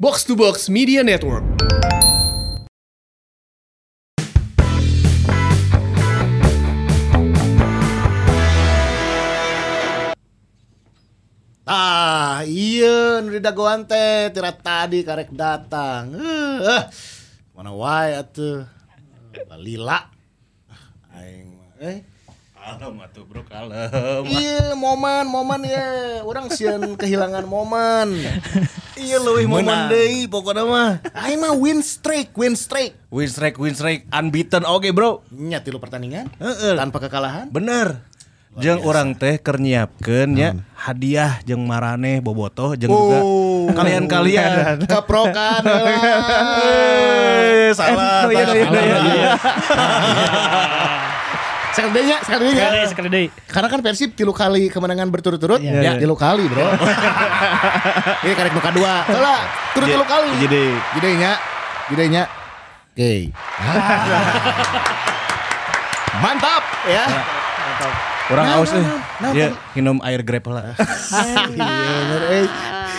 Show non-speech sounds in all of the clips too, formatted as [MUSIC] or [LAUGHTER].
Box to Box Media Network. Tah, Ah, iya nu di dagoan teh tira tadi karek datang. Eh, mana wae atuh. Lila. Ah, Aing mah eh Kalem atuh bro, kalem. Iya, momen, momen ya. Orang sieun kehilangan momen. Iya, leuwih momen deui pokoknya mah. Aing mah win streak, win streak. Win streak, win streak, unbeaten oke bro. Nya tilu pertandingan Heeh. tanpa kekalahan. Bener. Jeng orang teh kerniapkeun ya hadiah jeng marane bobotoh jeng Oh. juga kalian-kalian. [LAUGHS] Kaprokan. Eh, salah. Oh, iya, salah, iya, salah. iya, iya. Sekalinya, sekalinya. Sekali, sekali deh. Karena kan Persib tilu kali kemenangan berturut-turut, ya, Iya. tilu kali [LAUGHS] bro. Ini karek muka dua, Soalnya turut Iya, tilu kali. Jadi Gede nya, gede nya. Oke. Ah. Mantap [LAUGHS] ya. orang Nah, aus nah, teh. nah, nah, Ya tadi. minum air grape lah. Iya bener, eh.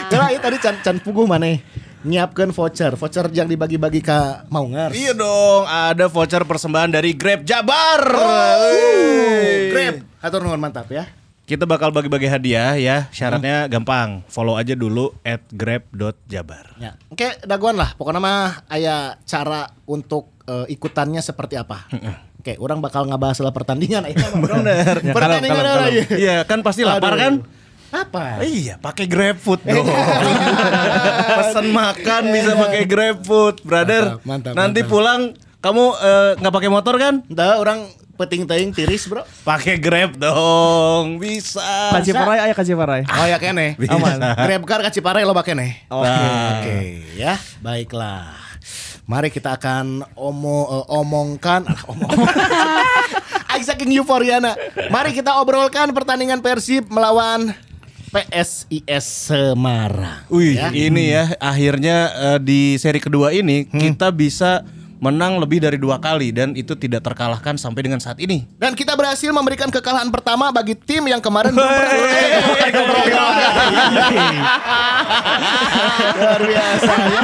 Soalnya ieu tadi can can puguh maneh nyiapkan voucher, voucher yang dibagi-bagi ke Maungar. [LAUGHS] Iya dong, ada voucher persembahan dari Grab Jabar. Oh, Wey. Grab, atur nuhun mantap ya. Kita bakal bagi-bagi hadiah ya. Syaratnya gampang. Follow aja dulu at grab.jabar. Ya. Oke, daguan lah. Pokoknya mah aya cara untuk eh, ikutannya seperti apa. Oke, orang bakal ngebahas soal pertandingan aja mah, Bro. Bener. Ya, kalem, pertandingan kalem, apa kalem. Iya, kan pasti lapar kan? Apa? Iya, pakai GrabFood [LAUGHS] dong. Pesan makan bisa pakai GrabFood, brother. Iya. Mantap, mantap, Nanti mantap. pulang kamu eh, nggak pakai motor kan? Entah orang peting-teing tiris, Bro. Pakai Grab dong. Bisa. Kaci parai, ayo kaci parai. Eh, Oh ya kene. Bisa. Aman. Grab car kaci pare lo bake neh. Oke. Oke, ya. Baiklah. Mari kita akan omo eh, omongkan [LAUGHS] ah, omong. Aing saking euforiana. Mari kita obrolkan pertandingan Persib melawan PSIS Semarang. Wih, Ya. ini ya akhirnya eh, di seri kedua ini Hmm. kita bisa menang lebih dari dua kali dan itu tidak terkalahkan sampai dengan saat ini. Dan kita berhasil memberikan kekalahan pertama bagi tim yang kemarin belum pernah ikut program. Luar biasa ya.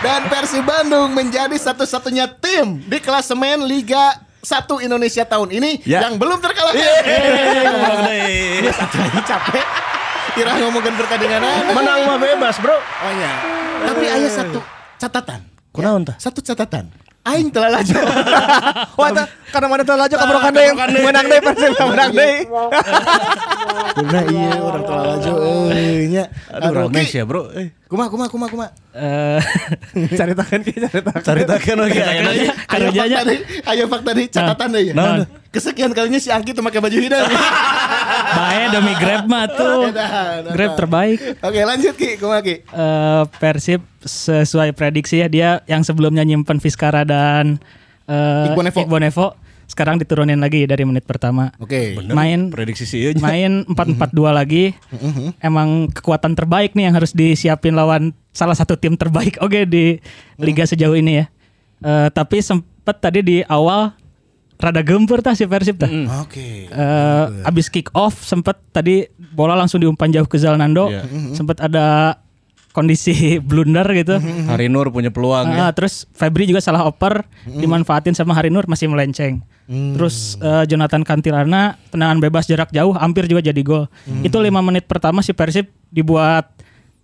Dan Persib Bandung menjadi satu-satunya tim di klasemen Liga 1 Indonesia tahun ini Ya. yang belum terkalahkan. Iya, Ini satu lagi capek. Kira ngomongin pertandingan aja. Menang mah bebas, Bro. Oh ya. Tapi ayah satu catatan. Kunaon tah? Satu catatan. Aing telah laju. [LAUGHS] Ah, Wah, itu karena mana telah aja kabrokan deh. Menang deh, persib menang deh. Bener iya orang telah laju. Eh, nya. Aduh, Oke. rames ya, Bro. Eh, Kuma, kuma, kuma, kuma. Cari tangan, ki, cari tangan. caritakeun oge ayeuna. Ayo Karena fakta jadinya nih, ayo fakta nih, catatan deh ya. Nah. Kesekian kalinya si Angki tuh pakai baju hidang. Bae demi Grab [LAUGHS] Nah, mah tuh. Grab terbaik. Oke lanjut Ki, kuma Ki. Eh, Persib sesuai prediksi ya dia yang sebelumnya nyimpen Fiskara dan eh, Iqbal Nevo. Iqbal Nevo, sekarang diturunin lagi dari menit pertama. Oke. Bener, Main- prediksi sih ieu nya. Main 4-4-2 lagi. Mm-hmm. Emang kekuatan terbaik nih yang harus disiapin lawan salah satu tim terbaik oke di Mm-hmm. liga sejauh ini ya. Eh, tapi sempet tadi di awal rada gempur tah si Persib tah. Mm-hmm. Oke. Eh, abis kick off sempet tadi bola langsung diumpan jauh ke Zalnando Iya. Mhm. sempet ada kondisi [LAUGHS] blunder gitu [LAUGHS] Mhm. Hari Nur punya peluang ya. Ah, terus Febri juga salah oper Mhm. dimanfaatin sama Hari Nur masih melenceng terus eh, Jonathan Kantilana tendangan bebas jarak jauh hampir juga jadi gol Mhm. itu lima menit pertama si Persib dibuat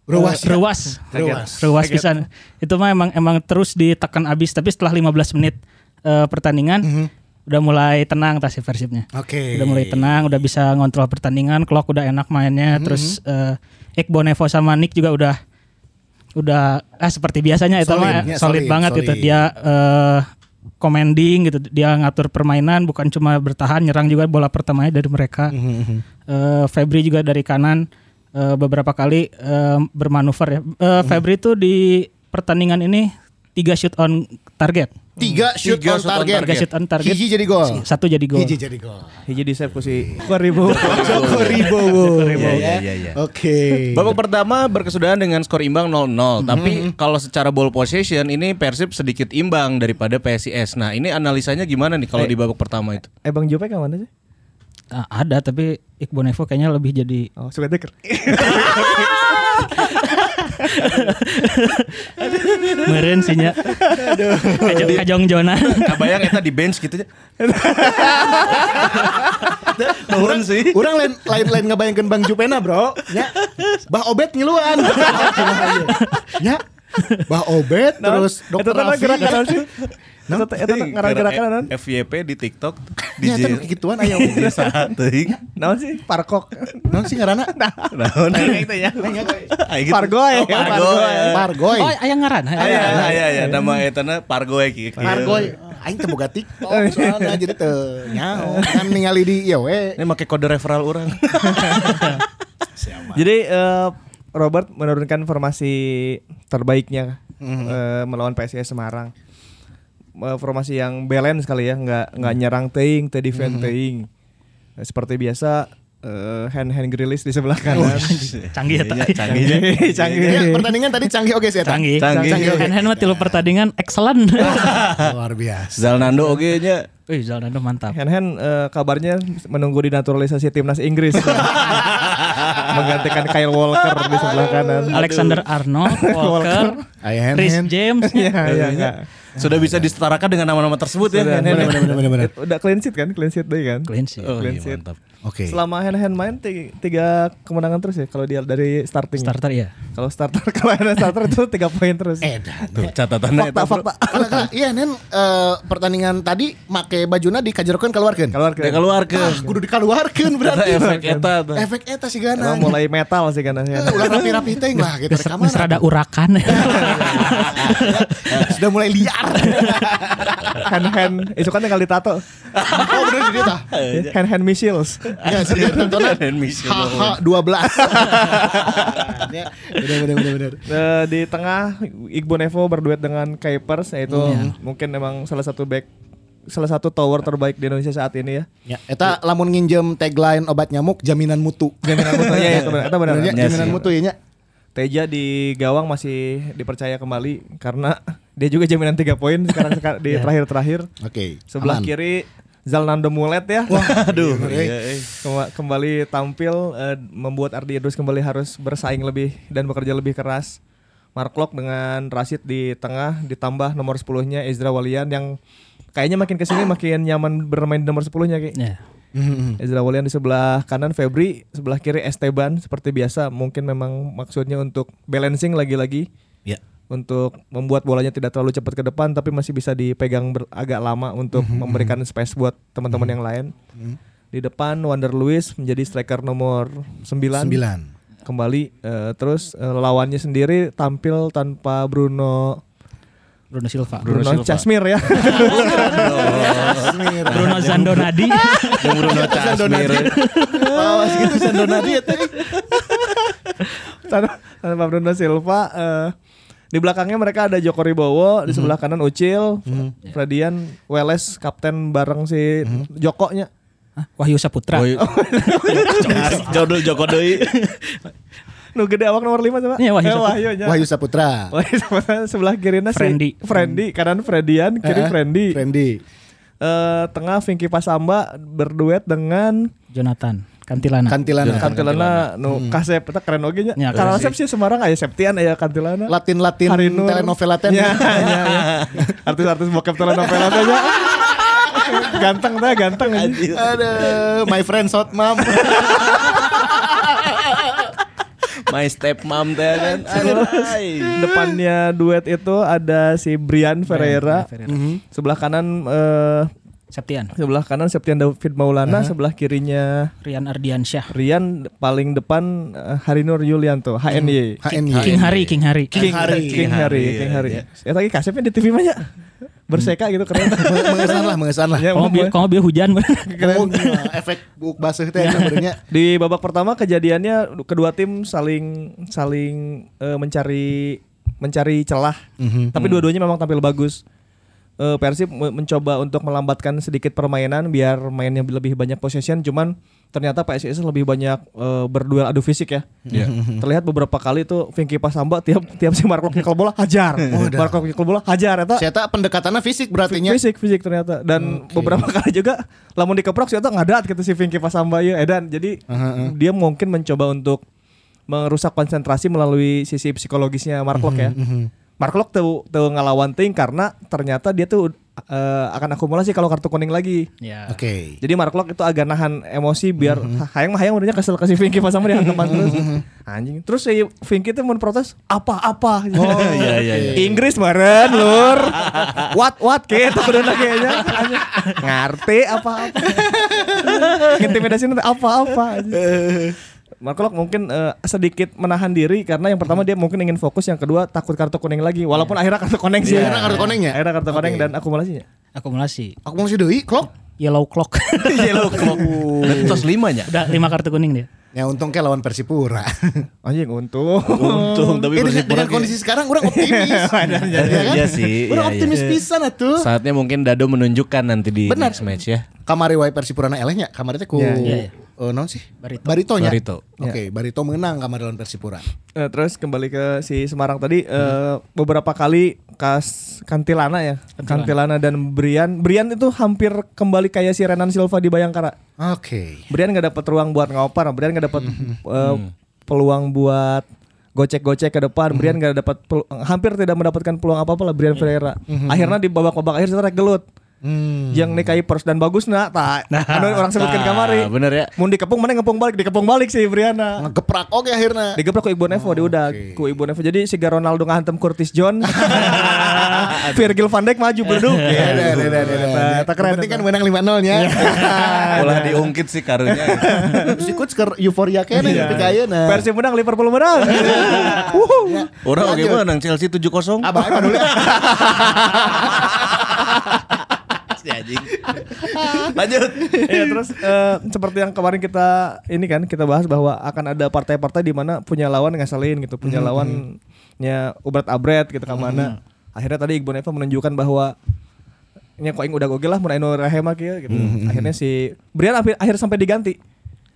eh, Ruas ya? ruas Ruas. ruas pisan itu mah emang emang terus ditekan abis tapi setelah 15 menit eh, pertandingan Mhm. udah mulai tenang tah si Persibnya Oke. udah mulai tenang, udah bisa ngontrol pertandingan, clock udah enak mainnya, Mm-hmm. terus eh Ekbo Nevo sama Nick juga udah udah ah seperti biasanya itu Solid, mah ya, solid, solid, banget solid. gitu. Dia eh commanding gitu, dia ngatur permainan bukan cuma bertahan, nyerang juga bola pertamanya dari mereka. Mm-hmm. Eh, Febri juga dari kanan eh, beberapa kali eh, bermanuver ya. Eh, Mm-hmm. Febri tuh di pertandingan ini tiga shoot on target. Tiga shoot Tiga on shoot on target. Tiga shoot on target. Iya, Hiji jadi gol. Satu jadi gol. Hiji jadi gol. Hiji di Iya, save ku si [LAUGHS] Koribo. Joko Ribowo. Ribowo. Ya, Iya, iya, iya. Oke. Babak pertama berkesudahan dengan skor imbang 0-0, tapi kalau secara ball possession ini Persib sedikit imbang daripada PSIS. Nah, ini analisanya gimana nih kalau di babak pertama itu? Eh Bang Jopek mana sih? Ah, Oh, ada Eh, tapi Iqbal Nevo kayaknya lebih jadi Oh, suka deker. Meren sih nya. Kajong, kajong Jona. Kabayang eta di bench gitu ya. Nuhun sih. Orang lain lain lain ngebayangkeun Bang Jupena, Bro. Ya. Bah Obet ngiluan. ya. Bah Obet Nah, terus Dokter Raffi. eh, Iya. gerakan kan [LAUGHS] sih. Eta teh- Iya, eta teh ngaran gerakan naon? FYP di TikTok di Ya, terus kegituan ayo. [LAUGHS] di saat teuing. Naon sih? Parkok. Naon sih ngaranna? Naon? [LAUGHS] Aing gitu. Pargoy. Oh, Pargoy. Iya, Pargoy. Oh, ayah ngaran. Aya Aya. aya aya nama etana Pargoy gitu. kieu. Pargoy. Eh, Aing teu boga TikTok [LAUGHS] soalnya jadi teu nyaho. Kan ningali di ieu we. Ini make kode referral orang. Jadi eh, Robert menurunkan formasi terbaiknya Mm-hmm. eh, melawan PSIS Semarang. Eh, formasi yang balance kali ya, nggak nggak Mm-hmm. nyerang teing, teh defend teing. Eh, Seperti biasa hand hand grilis di sebelah kanan. Oh, Canggih eta. Canggihnya. Ya, [LAUGHS] Canggih. pertandingan tadi canggih oke sih. Eta. Canggih. Canggih. Hand hand mah tilu pertandingan excellent. Luar biasa. [LAUGHS] Zalnando oge nya Wih, Zalando mantap. Hand hand eh, kabarnya menunggu dinaturalisasi timnas Inggris [LAUGHS] menggantikan Kyle Walker di sebelah kanan. Alexander Arnold, Walker, Ayo hand Rhys hand. James. Iya, iya, iya. sudah bisa disetarakan dengan nama-nama tersebut ya. Sudah, Bener Hand-hand. bener bener bener. Udah clean sheet kan? Clean sheet deh kan? Clean sheet. Oh, Clean iya, sheet. mantap. Oke. Selama hand hand main tiga, tiga kemenangan terus ya kalau dia dari starting. Starter ya. Kalau starter [LAUGHS] kalau hand hand starter itu tiga poin terus. Edan. Tuh catatannya fakta eta, Bro. fakta. Kalau- kalau- Iya Nen eh, pertandingan tadi make bajuna dikajerkeun keluarkeun. Keluar ke. Dia keluar ke Ah, kudu dikaluarkeun [LAUGHS] berarti. efek eta tuh. Efek eta sih gana. Emang mulai metal sih kan. Eh, [LAUGHS] [LAUGHS] Ulah rapi-rapi teuing lah gitu Geus rekaman. geus rada urakan. [LAUGHS] Sudah mulai liar. hand hand itu kan tinggal ditato. Oh bener di dia tah. hand hand missiles. Ya, serius tontonan. Dan Michelle HH Bauer. [LAUGHS] 12. Ya, Bener bener bener bener. Eh, di tengah Igbo Nevo berduet dengan Kuipers yaitu mungkin emang salah satu back salah satu tower terbaik di Indonesia saat ini ya. Ya, eta lamun nginjem tagline obat nyamuk jaminan mutu. Jaminan mutu ya, itu benar, itu benar. Bener, ya, Iya jaminan sih. mutu ya. nya. Teja di gawang masih dipercaya kembali karena dia juga jaminan tiga poin sekarang sekarang di terakhir-terakhir. Oke. Sebelah aman. kiri Zalnando Mulet ya. Aduh. Iya, [LAUGHS] iya, iya. eh. Kema- kembali tampil eh, membuat Ardi Idrus kembali harus bersaing lebih dan bekerja lebih keras. Mark Lok dengan Rashid di tengah ditambah nomor 10-nya Ezra Walian yang kayaknya makin kesini makin nyaman bermain di nomor 10-nya Ki. Ya. Ezra Walian di sebelah kanan Febri, sebelah kiri Esteban seperti biasa mungkin memang maksudnya untuk balancing lagi-lagi Ya. untuk membuat bolanya tidak terlalu cepat ke depan tapi masih bisa dipegang ber- agak lama untuk memberikan space buat teman-teman yang lain. Di depan Wander Luis menjadi striker nomor 9. Sembilan. Kembali eh, terus eh, lawannya sendiri tampil tanpa Bruno Bruno Silva. Bruno, [LAUGHS] Casmir ya. Bruno Zandonadi. Jeung Bruno Casmir. Awas gitu Sandonadi eta. tanpa, tanpa Bruno Silva eh, di belakangnya mereka ada Joko Ribowo Mhm. di sebelah kanan Ucil, Iya. Fredian, Weles kapten bareng si Mhm. Jokonya. Hah? Wahyu Saputra. Boy. Jodul [LAUGHS] Joko deui. Nu gede awak nomor 5 coba. Iya, Wahyu Eh, Saputra. nya. Wahyu Saputra. Mhm. Wahyu Saputra, sebelah kirinya si Frendy. Frendy, kanan Fredian, kiri Eh, Frendy. Frendy. Eh, tengah Vinky Pasamba berduet dengan Jonathan Kantilana. Iya. Kantilana. Mhm. Kantilana nu kasep eta keren oge nya. Ya, keren Karena Kasep sih Semarang aya Septian aya Kantilana. Latin-Latin Harinur. telenovela teh. Ya, ya, ya. Artis-artis bokep telenovela teh [LAUGHS] nya. Ganteng teh, ganteng. Aduh, my friend shot [LAUGHS] mom. My step mom teh kan. Ay. Hmm. Depannya duet itu ada si Brian Ferreira. Mhm. Sebelah kanan eh, Septian. sebelah kanan Septian David Maulana, sebelah kirinya Rian Ardiansyah. Rian paling depan eh, Harinur Yulianto HNY King Iya, HNY. Hari, King Hari. Mhm. King Hari King Hari King Hari ya lagi kasepnya di TV mah ya berseka gitu [LAUGHS] keren Mengesan lah, mengesan Iya. lah. Ya, Kamu biar kamu biar hujan. [LAUGHS] Oh, gila, efek buk basah teh Iya. eta barunya. di babak pertama kejadiannya kedua tim saling saling eh, mencari mencari celah tapi dua-duanya memang tampil bagus Eh, Persib me- mencoba untuk melambatkan sedikit permainan biar mainnya lebih banyak possession cuman ternyata PSIS lebih banyak eh, berduel adu fisik ya terlihat beberapa kali tuh Vinky Pasamba tiap tiap si Marco nyekel bola hajar Marco nyekel bola hajar ya eta Saya tak pendekatannya fisik berarti nya. fisik fisik ternyata dan beberapa [LAUGHS] kali juga Iya, lamun dikeprok ternyata ngadat gitu si Vinky Pasamba ya edan jadi dia mungkin mencoba untuk merusak konsentrasi melalui sisi psikologisnya Mark Locke ya. Mark Locke tuh tuh ngelawan ting karena ternyata dia tuh eh, akan akumulasi kalau kartu kuning lagi. Ya. Oke. Jadi Mark Locke itu agak nahan emosi biar ha- hayang mah hayang mudahnya kesel ke si Vinky pas sama dia teman terus. Anjing. Terus si Vinky tuh mau protes apa-apa. Oh iya, iya, iya. Inggris meren lur. what what gitu [LAUGHS] udah kayaknya. Anjing. Ngerti apa-apa. Intimidasi nanti apa-apa. anjing. Mark Locke mungkin eh, sedikit menahan diri karena yang pertama dia mungkin ingin fokus, yang kedua takut kartu kuning lagi. Walaupun akhirnya kartu kuning sih. Akhirnya kartu kuning ya? Akhirnya kartu kuning Oke. dan akumulasinya. Akumulasi. Aku mau deui klok. Yellow clock. [LAUGHS] Yellow clock. Dan Terus limanya. Udah lima kartu kuning dia. Ya untung kayak lawan Persipura. Anjing untung. Untung Eh, tapi dengan, Persipura dengan kayak- kondisi sekarang orang optimis. [LAUGHS] Iya, iya sih. Orang iya, iya. optimis pisan atuh. Saatnya mungkin Dado menunjukkan nanti di Benar. next match ya. Kamari wae Persipura na elehnya, kamari teh ku Iya, iya, iya. eh, naon sih? Barito. Baritonya. Barito. iya. Oke, Barito menang kamari lawan Persipura. Eh, terus kembali ke si Semarang tadi eh, beberapa kali kas Kantilana ya Kantilana. dan Brian Brian itu hampir kembali kayak si Renan Silva di Bayangkara Oke. Brian nggak dapat ruang buat ngoper Brian nggak dapat eh, peluang buat gocek-gocek ke depan Brian nggak dapat pelu- hampir tidak mendapatkan peluang apa apa lah Brian Ferreira akhirnya di babak-babak akhir setelah gelut yang nikahi Pers dan bagus Hmm. nah, tak anu orang Nah, sebutkan kamari bener ya. mau dikepung mana ngepung balik dikepung balik si nah. Briana Ah. Ngegeprak oke akhirna. Digeprek ke Ibu Nevo, dia udah ke Ibu Nevo. Jadi si Ronaldo ngantem Curtis [LAUGHS] John. Virgil van Dijk maju [LAUGHS] berduk. Iya, Ya, udah, udah, udah, udah, udah. Nah, tak keren. Yang penting kan menang 5-0-nya. Ulah diungkit sih karunya. [LAUGHS] Terus ikut ke euforia kene Iya. tapi nah. kayaknya. Versi menang Liverpool [LAUGHS] menang. Wuhu. Orang oke Lanjut. menang Chelsea 7-0. Abah ayo dulu. Si anjing. [LAUGHS] Lanjut. Iya, terus eh, seperti yang kemarin kita ini kan kita bahas bahwa akan ada partai-partai di mana punya lawan ngasalin gitu, punya lawannya ubrat abret gitu ke mana. Akhirnya tadi Ibu Nevo menunjukkan bahwa nya kok yang udah goge lah mulai rahema kieu gitu. Akhirnya si Brian akhir, akhir sampai diganti.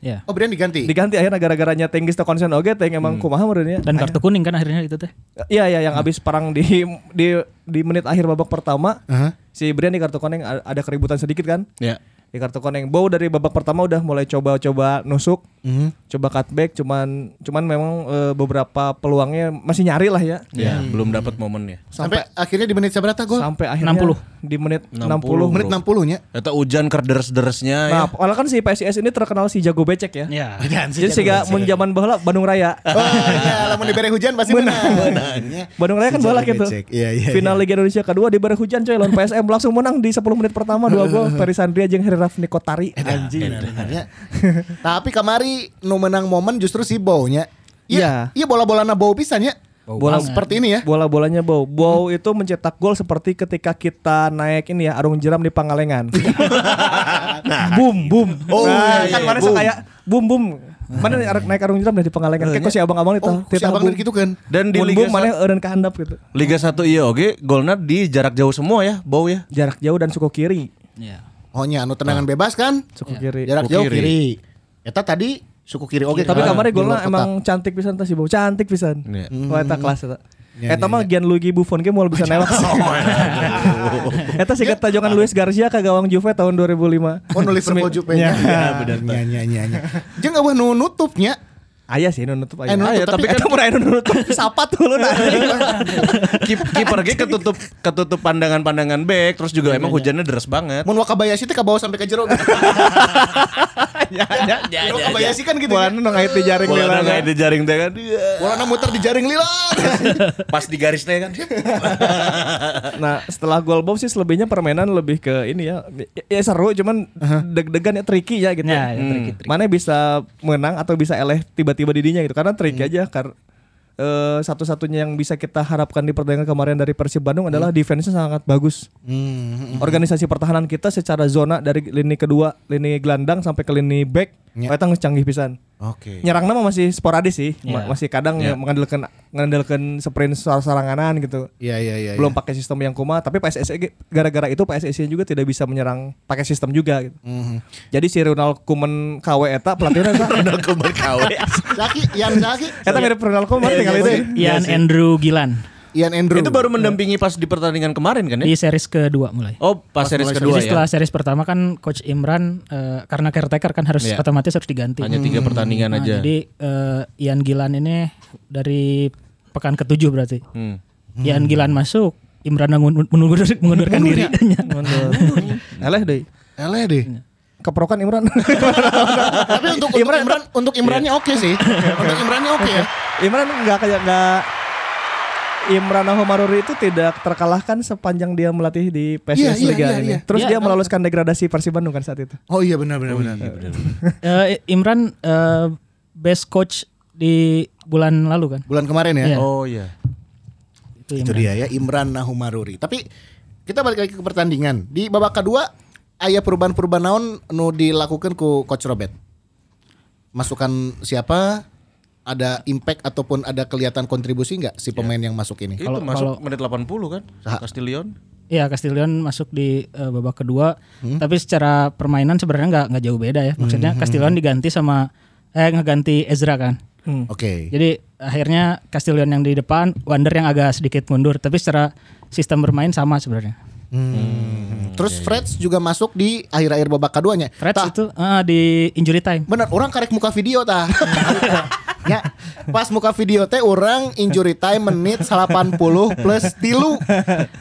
Iya. Ya. Oh, Brian diganti. Hmm. diganti akhirnya gara-garanya tinggi to konsen oge teh emang kumaha meureun nya. Dan kartu kuning kan akhirnya itu teh. Iya iya yang habis perang di di di menit akhir babak pertama Aha. si Brian di kartu kuning a- ada keributan sedikit kan. Ya. Di kartu kuning Bow dari babak pertama udah mulai coba-coba nusuk. Hmm. Coba cutback cuman cuman memang eh, beberapa peluangnya masih nyari lah ya. Ya, belum dapat momennya. Sampai akhirnya di menit seberapa gol? Sampai akhirnya 60. di menit 60. 60. Menit 60-nya. Eta hujan kerderes-deresnya ya. Nah, padahal kan si PSIS ini terkenal si jago becek Iya, ya. Iya. Ya. Jadi sehingga mun zaman baheula Bandung Raya. Oh, ya, lamun diberi hujan pasti menang. Menang. Bandung Raya kan Sejak balak itu. becek. Iya, iya, Final Liga Indonesia kedua di bare hujan coy lawan PSM langsung menang di 10 menit pertama dua [LAUGHS] gol Ferry Sandria jeung Heri Nikotari. Eh, Anjing. Sebenarnya. Tapi kamari nu menang momen justru si Bow-nya. Iya. Iya bola-bola na Bow pisan ya. Bola Bola- seperti ini ya. Bola-bolanya Bow. Bow itu mencetak gol seperti ketika kita naik ini ya arung jeram di Pangalengan. [LAUGHS] boom boom. Oh, Nah, iya, kan iya, mana boom. kayak boom boom. Mana ar- naik arung jeram dari Pangalengan. Kayak kok si abang-abang itu. Nah, Oh, si titah abang boom. dari gitu kan. Dan di Mun Liga boom Sa- mana eureun kehandap gitu. Liga 1 iya oke, golnya di jarak jauh semua ya, bau ya. Jarak jauh dan suku kiri. Ya. Oh nya anu tendangan bebas kan? Ah. Suku kiri. Iya, Jarak Suku jauh kiri. kiri. Eta tadi suku kiri oke. Tapi kan? kamarnya Di luar golnya kotak. emang cantik pisan tah si Bow. Cantik pisan. Iya. Hmm. Wah eta kelas eta. Iya, iya, Eta Oh, mah Gianluigi Buffon ge moal bisa [LAUGHS] newak. Eta sih tajongan Luis Garcia ke gawang Juve tahun 2005. Oh [LAUGHS] nu Liverpool Semi- Juve nya. Ya benar. Nya nya nya. nya. Jeung eueuh nu nutupnya. Aya sih nu nutup Eh, aya. nu nutup, Aya, tapi tapi eta mun aya nu nutup sapa tuh lu nah. Kip- Kiper ge ketutup ketutup pandangan-pandangan back, terus juga emang hujannya deras [LAUGHS] banget. Mun Wakabayashi teh ka bawah sampai ke [LAUGHS] jero. [LAUGHS] Ya, ya, ya. Mun Wakabayashi kan gitu. Bola nu ngait di jaring Bola lila. nggak ada jaring teh kan. Iya. Bola muter di jaring lila. Pas di garisnya kan. Nah, setelah gol Bob sih selebihnya permainan lebih ke ini ya. Ya seru cuman deg-degan ya tricky ya gitu. Ya, ya, tricky, tricky. Mana bisa menang atau bisa eleh tiba-tiba didinya gitu karena Hmm. tricky aja karena eh, satu-satunya yang bisa kita harapkan di pertandingan kemarin dari Persib Bandung Hmm. adalah defense-nya sangat bagus. Hmm, Organisasi pertahanan kita secara zona dari lini kedua, lini gelandang sampai ke lini back, Ya. kita canggih pisan. Oke. Nyerang nama masih sporadis sih, Ya. Ma- masih kadang ya mengandalkan mengandalkan sprint sarang-saranganan gitu Iya iya iya. belum pakai sistem yang kuma tapi PSSI gara-gara itu PSSI juga tidak bisa menyerang pakai sistem juga gitu. Mhm. Jadi si Ronald Koeman KW eta [LAUGHS] pelatihnya eta. Ronald Koeman KW. Saki, Yan Saki. Iya, Iya Eta mirip Ronald Koeman tinggal itu. Ian Andrew Gilan. Ian Andrew. Itu baru mendampingi pas di pertandingan kemarin kan ya? di series kedua mulai. Oh, pas series kedua Jadi setelah ya. series pertama kan coach Imran eh, karena caretaker kan harus Iya. otomatis harus diganti. Hanya tiga pertandingan Nah, aja. Jadi eh, Ian Gilan ini dari pekan ketujuh berarti. Hmm. Iya. Ian Gilan masuk, Imran mengundur, mengundur, mengundurkan diri. Eleh deh. Eleh deh. Keprokan Imran. [LAUGHS] Tapi untuk, untuk Imran, untuk Imrannya oke sih. untuk Imrannya oke ya. Imran nggak kayak nggak Imran Homaruri itu tidak terkalahkan sepanjang dia melatih di Iya, PSIS iya, Liga iya, ini. iya. Terus Iya, dia meloloskan degradasi Persib Bandung kan saat itu. Oh iya benar benar benar. Eh, Imran eh, best coach di bulan lalu kan. Bulan kemarin ya. Iya. Oh iya. Itu Itu Imran. dia ya Imran Nahumaruri. Tapi kita balik lagi ke pertandingan. Di babak kedua aya perubahan-perubahan naon nu dilakukan ku coach Robert. Masukan siapa? Ada impact ataupun ada kelihatan kontribusi nggak si pemain yang masuk ini? Itu Kalau- masuk kalau- menit 80 kan? Castillion. Iya Castillion masuk di eh, babak kedua, Hmm. tapi secara permainan sebenarnya nggak nggak jauh beda ya. Maksudnya Castillion hmm. diganti sama eh ngeganti Ezra kan. Hmm. Oke. Jadi akhirnya Castillion yang di depan, Wander yang agak sedikit mundur, tapi secara sistem bermain sama sebenarnya. Hmm. Hmm, Terus iya, Freds juga masuk di akhir-akhir babak keduanya. Fred Tah, itu ah, di injury time. Bener, orang karek muka video tah. [LAUGHS] ya, pas muka video teh orang injury time menit 80 plus tilu.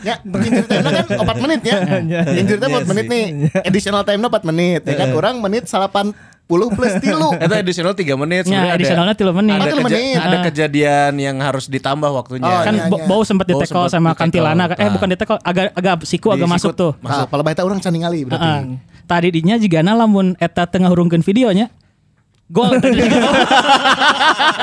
Ya, injury time kan 4 menit [LAUGHS] ya. Iya, Injury time 4 menit nih. Additional time 4 menit. Ya Iya. kan orang menit 80 plus tilu. Itu additional 3 menit Ya, sebenarnya ada- additionalnya tilu menit. Ah. Ada, tilu keja- menit. ada kejadian yang harus ditambah waktunya. Oh, kan iya, Bo- iya. bau sempat di Bau tackle sempet sama di tackle. Kantilana, eh Ah. bukan di tackle, agak agak siku agak Di masuk siku. tuh. Nah, kalau baita orang can ningali berarti. Ah, Heeh. Tadi dinya juga na lamun eta tengah hurungkeun videonya. Gol. [LAUGHS]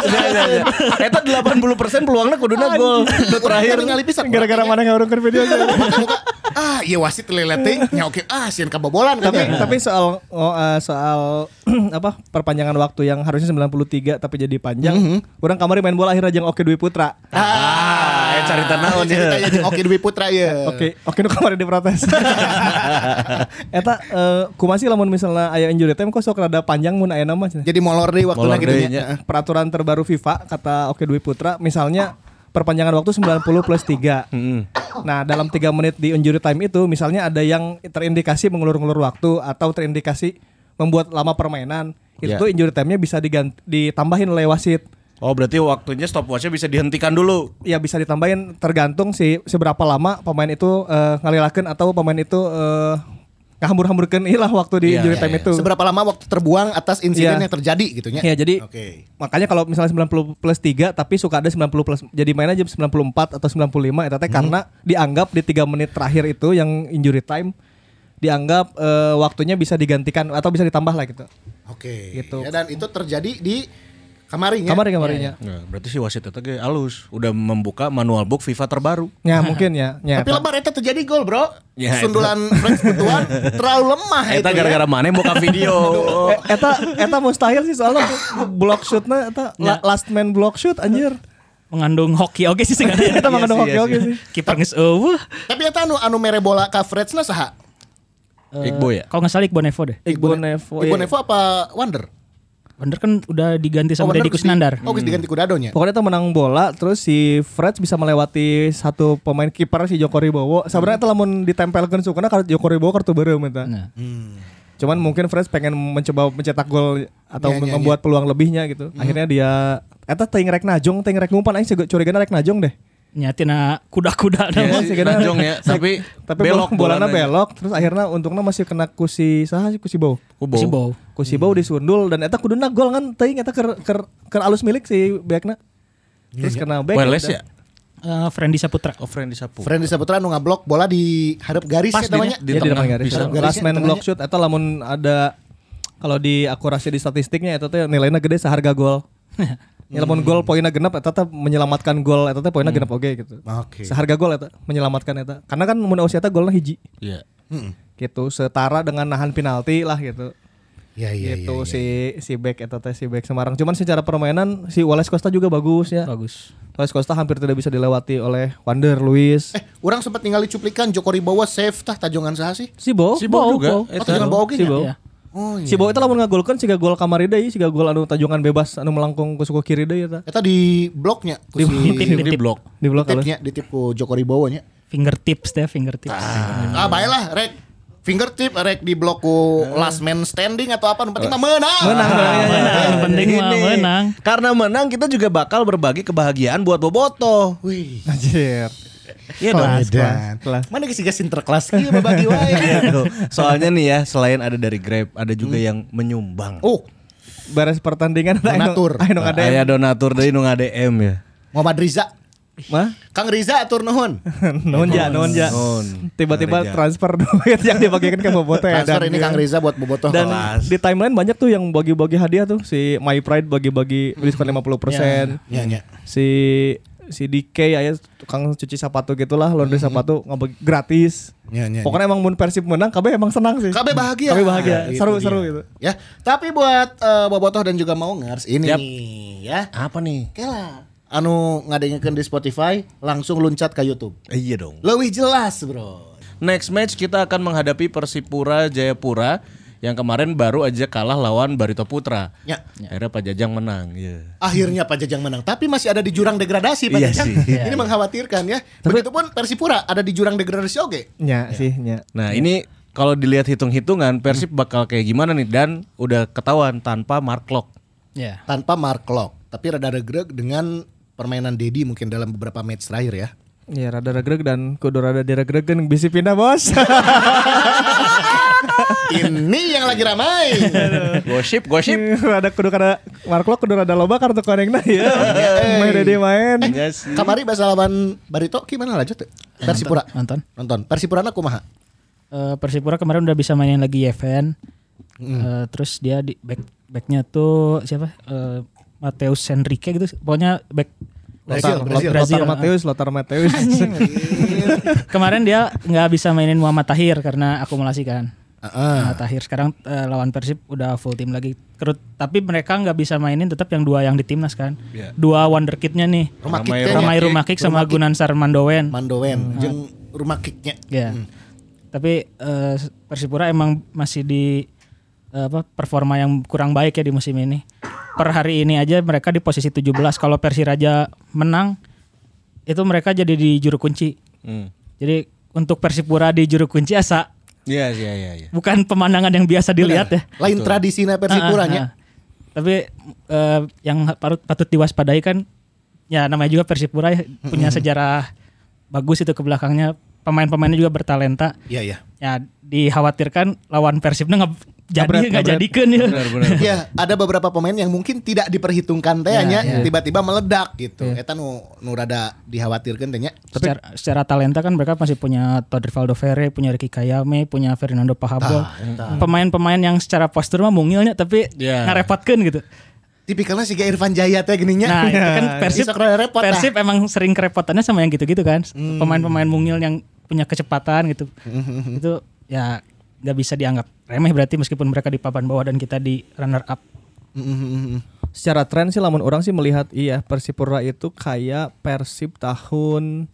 Iya, iya, iya. Eta 80% peluangnya kuduna gol. Nu Terakhir terakhir. ningali pisan. Gara-gara mana ngurungkan videonya. [LAUGHS] Muka-muka, ah, iya wasit lelet teh. Nya oke, ah sieun kabobolan kan. tapi ya. tapi soal oh, eh, soal [CLEARS THROAT] apa perpanjangan waktu yang harusnya 93 tapi jadi panjang. Orang kamari main bola akhirnya jeung Oke Dwi Putra. Ah, eh, carita naon Jadi ya. tanya jeung Oki Dwi Putra ya. Oke, oke nu kamari diprotes. Eta eh, kumasih lamun misalnya aya injury time kok sok rada panjang mun aya nama. Jadi molor deh waktu Molor gitu deui ya. nya. peraturan terbaru FIFA kata Oke Dwi Putra misalnya perpanjangan waktu 90 plus 3. Nah, dalam 3 menit di injury time itu misalnya ada yang terindikasi mengulur-ngulur waktu atau terindikasi membuat lama permainan, itu Ya. tuh injury time-nya bisa diganti, ditambahin oleh wasit. Oh, berarti waktunya stopwatchnya bisa dihentikan dulu. Ya bisa ditambahin tergantung si seberapa lama pemain itu eh, ngalilakeun atau pemain itu eh, ngahambur-hamburkeun [LAUGHS] ilah waktu di Iya, injury ya, iya, time iya. itu. Seberapa lama waktu terbuang atas insiden Iya. yang terjadi gitu ya? Iya, jadi Oke. Makanya kalau misalnya 90 plus 3 tapi suka ada 90 plus jadi mainnya jam 94 atau 95 itu teh Hmm. karena dianggap di 3 menit terakhir itu yang injury time dianggap eh, waktunya bisa digantikan atau bisa ditambah lah gitu. Oke. Gitu. Ya, dan itu terjadi di Iya, kamarin ya. Kamari kamarinya. Nah, berarti si wasit itu ge alus, udah membuka manual book FIFA terbaru. Ya mungkin ya. ya Tapi lebar itu terjadi gol, Bro. Ya, eta. Sundulan Frank Butuan terlalu lemah itu. Eta ya. gara-gara mana buka video. Eh, Eta eta mustahil sih soalnya block shootnya eta la- last man block shoot anjir. Mengandung hoki oke sih sebenarnya. Eta mah ada sih, iya oke oke sih. sih. Kiper uh, geus eueuh. Tapi eta anu anu mere bola ka Fredsna saha? Eh, Igbo ya? Kalau nggak salah Iqbo Nevo deh. Iqbal Ibu Nevo. iya. Nevo apa Wander? Wander kan udah diganti sama Wander Deddy geus di- Kusnandar. Oh, geus diganti kudadonya. Ya. Pokoknya itu menang bola terus si Fred bisa melewati satu pemain kiper si Joko Ribowo. Sebenarnya itu lamun ditempelkan sukuna kartu Joko Ribowo kartu baru eta. Nah. Cuman mungkin Fred pengen mencoba mencetak gol atau Iya, iya, membuat peluang lebihnya gitu. Hmm. Akhirnya dia eta teuing rek najong, teuing rek ngumpan aing sih curigana rek najong deh. Nyatina kuda-kuda Ya, nama. si Najong [LAUGHS] ya, tapi Tapi belok bolanya. bolana belok terus akhirnya untungnya masih kena kusi saha sih kusi bau. Kubo. Si Bow. Kusi Hmm. bau disundul dan eta kuduna gol kan teuing eta ker ker ker alus milik si backna. Terus kena back. Wireless ya? udah. Eh, Frendy Saputra. Oh, friend Hmm. disapu. Frendy Saputra anu ngablok bola di harap garis Pas ya namanya. di, di Iya, di tengah depan garis. bisa. Harap garis. Last garisnya man di block shoot atau lamun ada kalau di akurasi di statistiknya itu tuh nilainya gede seharga gol. Ya lamun gol poinnya genap eta teh menyelamatkan gol eta teh poinnya genap oge gitu. Oke. Seharga gol eta menyelamatkan eta. Karena kan mun usia eta golna hiji Iya. Hmm. gitu setara dengan nahan penalti lah gitu. Ya ya ya. gitu si si back eta teh si back Semarang. Cuman secara permainan si Wallace Costa juga bagus ya. Bagus. Wallace Costa hampir tidak bisa dilewati oleh Wander Luis. Eh, orang sempat ningali cuplikan Joko Ribowo save tah tajongan saha sih? Si Bo, Si Bow juga. Oh, tajongan Bowo ge Si nya? Bow. Iya. Oh Si bawa itu lamun ngagolkeun siga gol kamari deui, siga gol anu tajungan bebas anu melengkung ku suku kiri deui eta. Eta di bloknya ku si Di blok. Di blok kalau. tipnya di tip ku Joko Ribowo nya. Fingertips deh, fingertips. Ah, baiklah rek fingertip rek di blok ku last man standing atau apa nu penting mah menang. Ah. Menang menang. Yang penting mah Ah, Ini. menang. Karena menang kita juga bakal berbagi kebahagiaan buat Boboto. Wih. Anjir. Iya dong. Edan. kelas. Mana geus geus interkelas kieu bagi wae. Iya dong. Hmm. Soalnya nih ya, selain ada dari Grab, ada juga yang menyumbang. [LAUGHS] Oh, Beres pertandingan ada anu- Donatur. Anu Nah, ada. Aya donatur dari nu ngadm ya. Muhammad Riza. Mah? Kang Riza atur nuhun. Nuhun ja, nuhun ja. Nuhun. Tiba-tiba Nuhun ja. transfer [LAUGHS] duit yang dibagikan ke Boboto ya. Transfer dan- ini Kang Riza buat bobotoh Dan Kelas. di timeline banyak tuh yang bagi-bagi hadiah tuh si My Pride bagi-bagi diskon 50%. Ya, ya. si si DK ya tukang cuci sepatu gitulah laundry sepatu ngabeg gratis Ya, ya, ya. pokoknya emang mun persib menang KB emang senang sih KB bahagia. KB bahagia Nah, itu seru dia. seru gitu Ya, tapi buat eh, bobotoh dan juga mau ngers ini Yap. nih, ya. Apa nih? Oke lah. Anu ngadengekeun di Spotify langsung luncat ke YouTube. Iya dong. Lebih jelas, Bro. Next match kita akan menghadapi Persipura Jayapura yang kemarin baru aja kalah lawan Barito Putra. Ya. Akhirnya Pak Jajang menang. Iya. Akhirnya Pak Jajang menang, tapi masih ada di jurang degradasi Pak Iya Jajang. sih. Ini mengkhawatirkan ya. Begitupun Persipura ada di jurang degradasi oke. nya sih nya Nah ini kalau dilihat hitung-hitungan Persib bakal kayak gimana nih dan udah ketahuan tanpa Mark Locke. Ya. Tanpa Mark Locke, tapi rada regreg dengan permainan Dedi mungkin dalam beberapa match terakhir ya. [LAUGHS] ya rada regreg dan kudu rada diregregen bisa pindah bos Ini yang lagi ramai. Gosip, [LAUGHS] gosip. rada kudu kada Marklo kudu rada loba kartu konengna ya Iya. main deh dia main Iya Kamari bahasa lawan Barito gimana lanjut? tuh? Persipura. Nonton. Nonton. Persipura aku mah. Eh, Persipura kemarin udah bisa mainin lagi Yeven. Hmm. Eh, terus dia di back backnya tuh siapa? Eh, Mateus Henrique gitu. Pokoknya back Brazil, Eh, Brazil. Iya. Lothar Mateus Lothar [LAUGHS] Mateus Eh, kemarin dia nggak bisa mainin Muhammad Tahir karena akumulasi kan. Heeh. Muhammad Tahir sekarang eh, lawan Persib udah full tim lagi. Terus tapi mereka nggak bisa mainin tetap yang dua yang di timnas kan. Iya. Dua wonderkidnya nih. Rumah kick Ramai Rumah Kick sama Gunansar Mandowen. Mandowen Hmm. jeung rumah kicknya. Ya. Tapi eh, Persipura emang masih di eh, apa performa yang kurang baik ya di musim ini. Per hari ini aja mereka di posisi 17. Kalau Persiraja menang itu mereka jadi di juru kunci. Hmm. Jadi untuk Persipura di juru kunci asa Iya, iya, iya, iya. bukan pemandangan yang biasa dilihat ya. Lain ya? tradisinya Persipuranya. Ah, ah, ah. Tapi eh, yang patut, patut diwaspadai kan ya namanya juga Persipura ya, punya sejarah bagus itu ke belakangnya. Pemain-pemainnya juga bertalenta. Iya, iya. ya dikhawatirkan lawan Persibnya nggak jadi Kabret, nggak kabret. jadikan ya. Benar, [LAUGHS] benar. Ya, ada beberapa pemain yang mungkin tidak diperhitungkan Iya, teh nya, tiba-tiba meledak gitu. Eta nu nu rada dikhawatirkeun teh nya. secara, secara talenta kan mereka masih punya Todd Rivaldo Ferre, punya Ricky Kayame, punya Fernando Pahabol. Pemain-pemain yang secara postur mah mungilnya tapi Ya. ngarepotkeun gitu. Tipikalnya si Ge Irfan Jaya teh gini nya. Nah, itu kan Persib Iya. Bisa keren repot, nah. ah. Persib emang sering kerepotannya sama yang gitu-gitu kan. Pemain-pemain mungil yang punya kecepatan gitu. itu ya nggak bisa dianggap remeh berarti meskipun mereka di papan bawah dan kita di runner up. Mm, secara tren sih lamun orang sih melihat iya Persipura itu kayak Persib tahun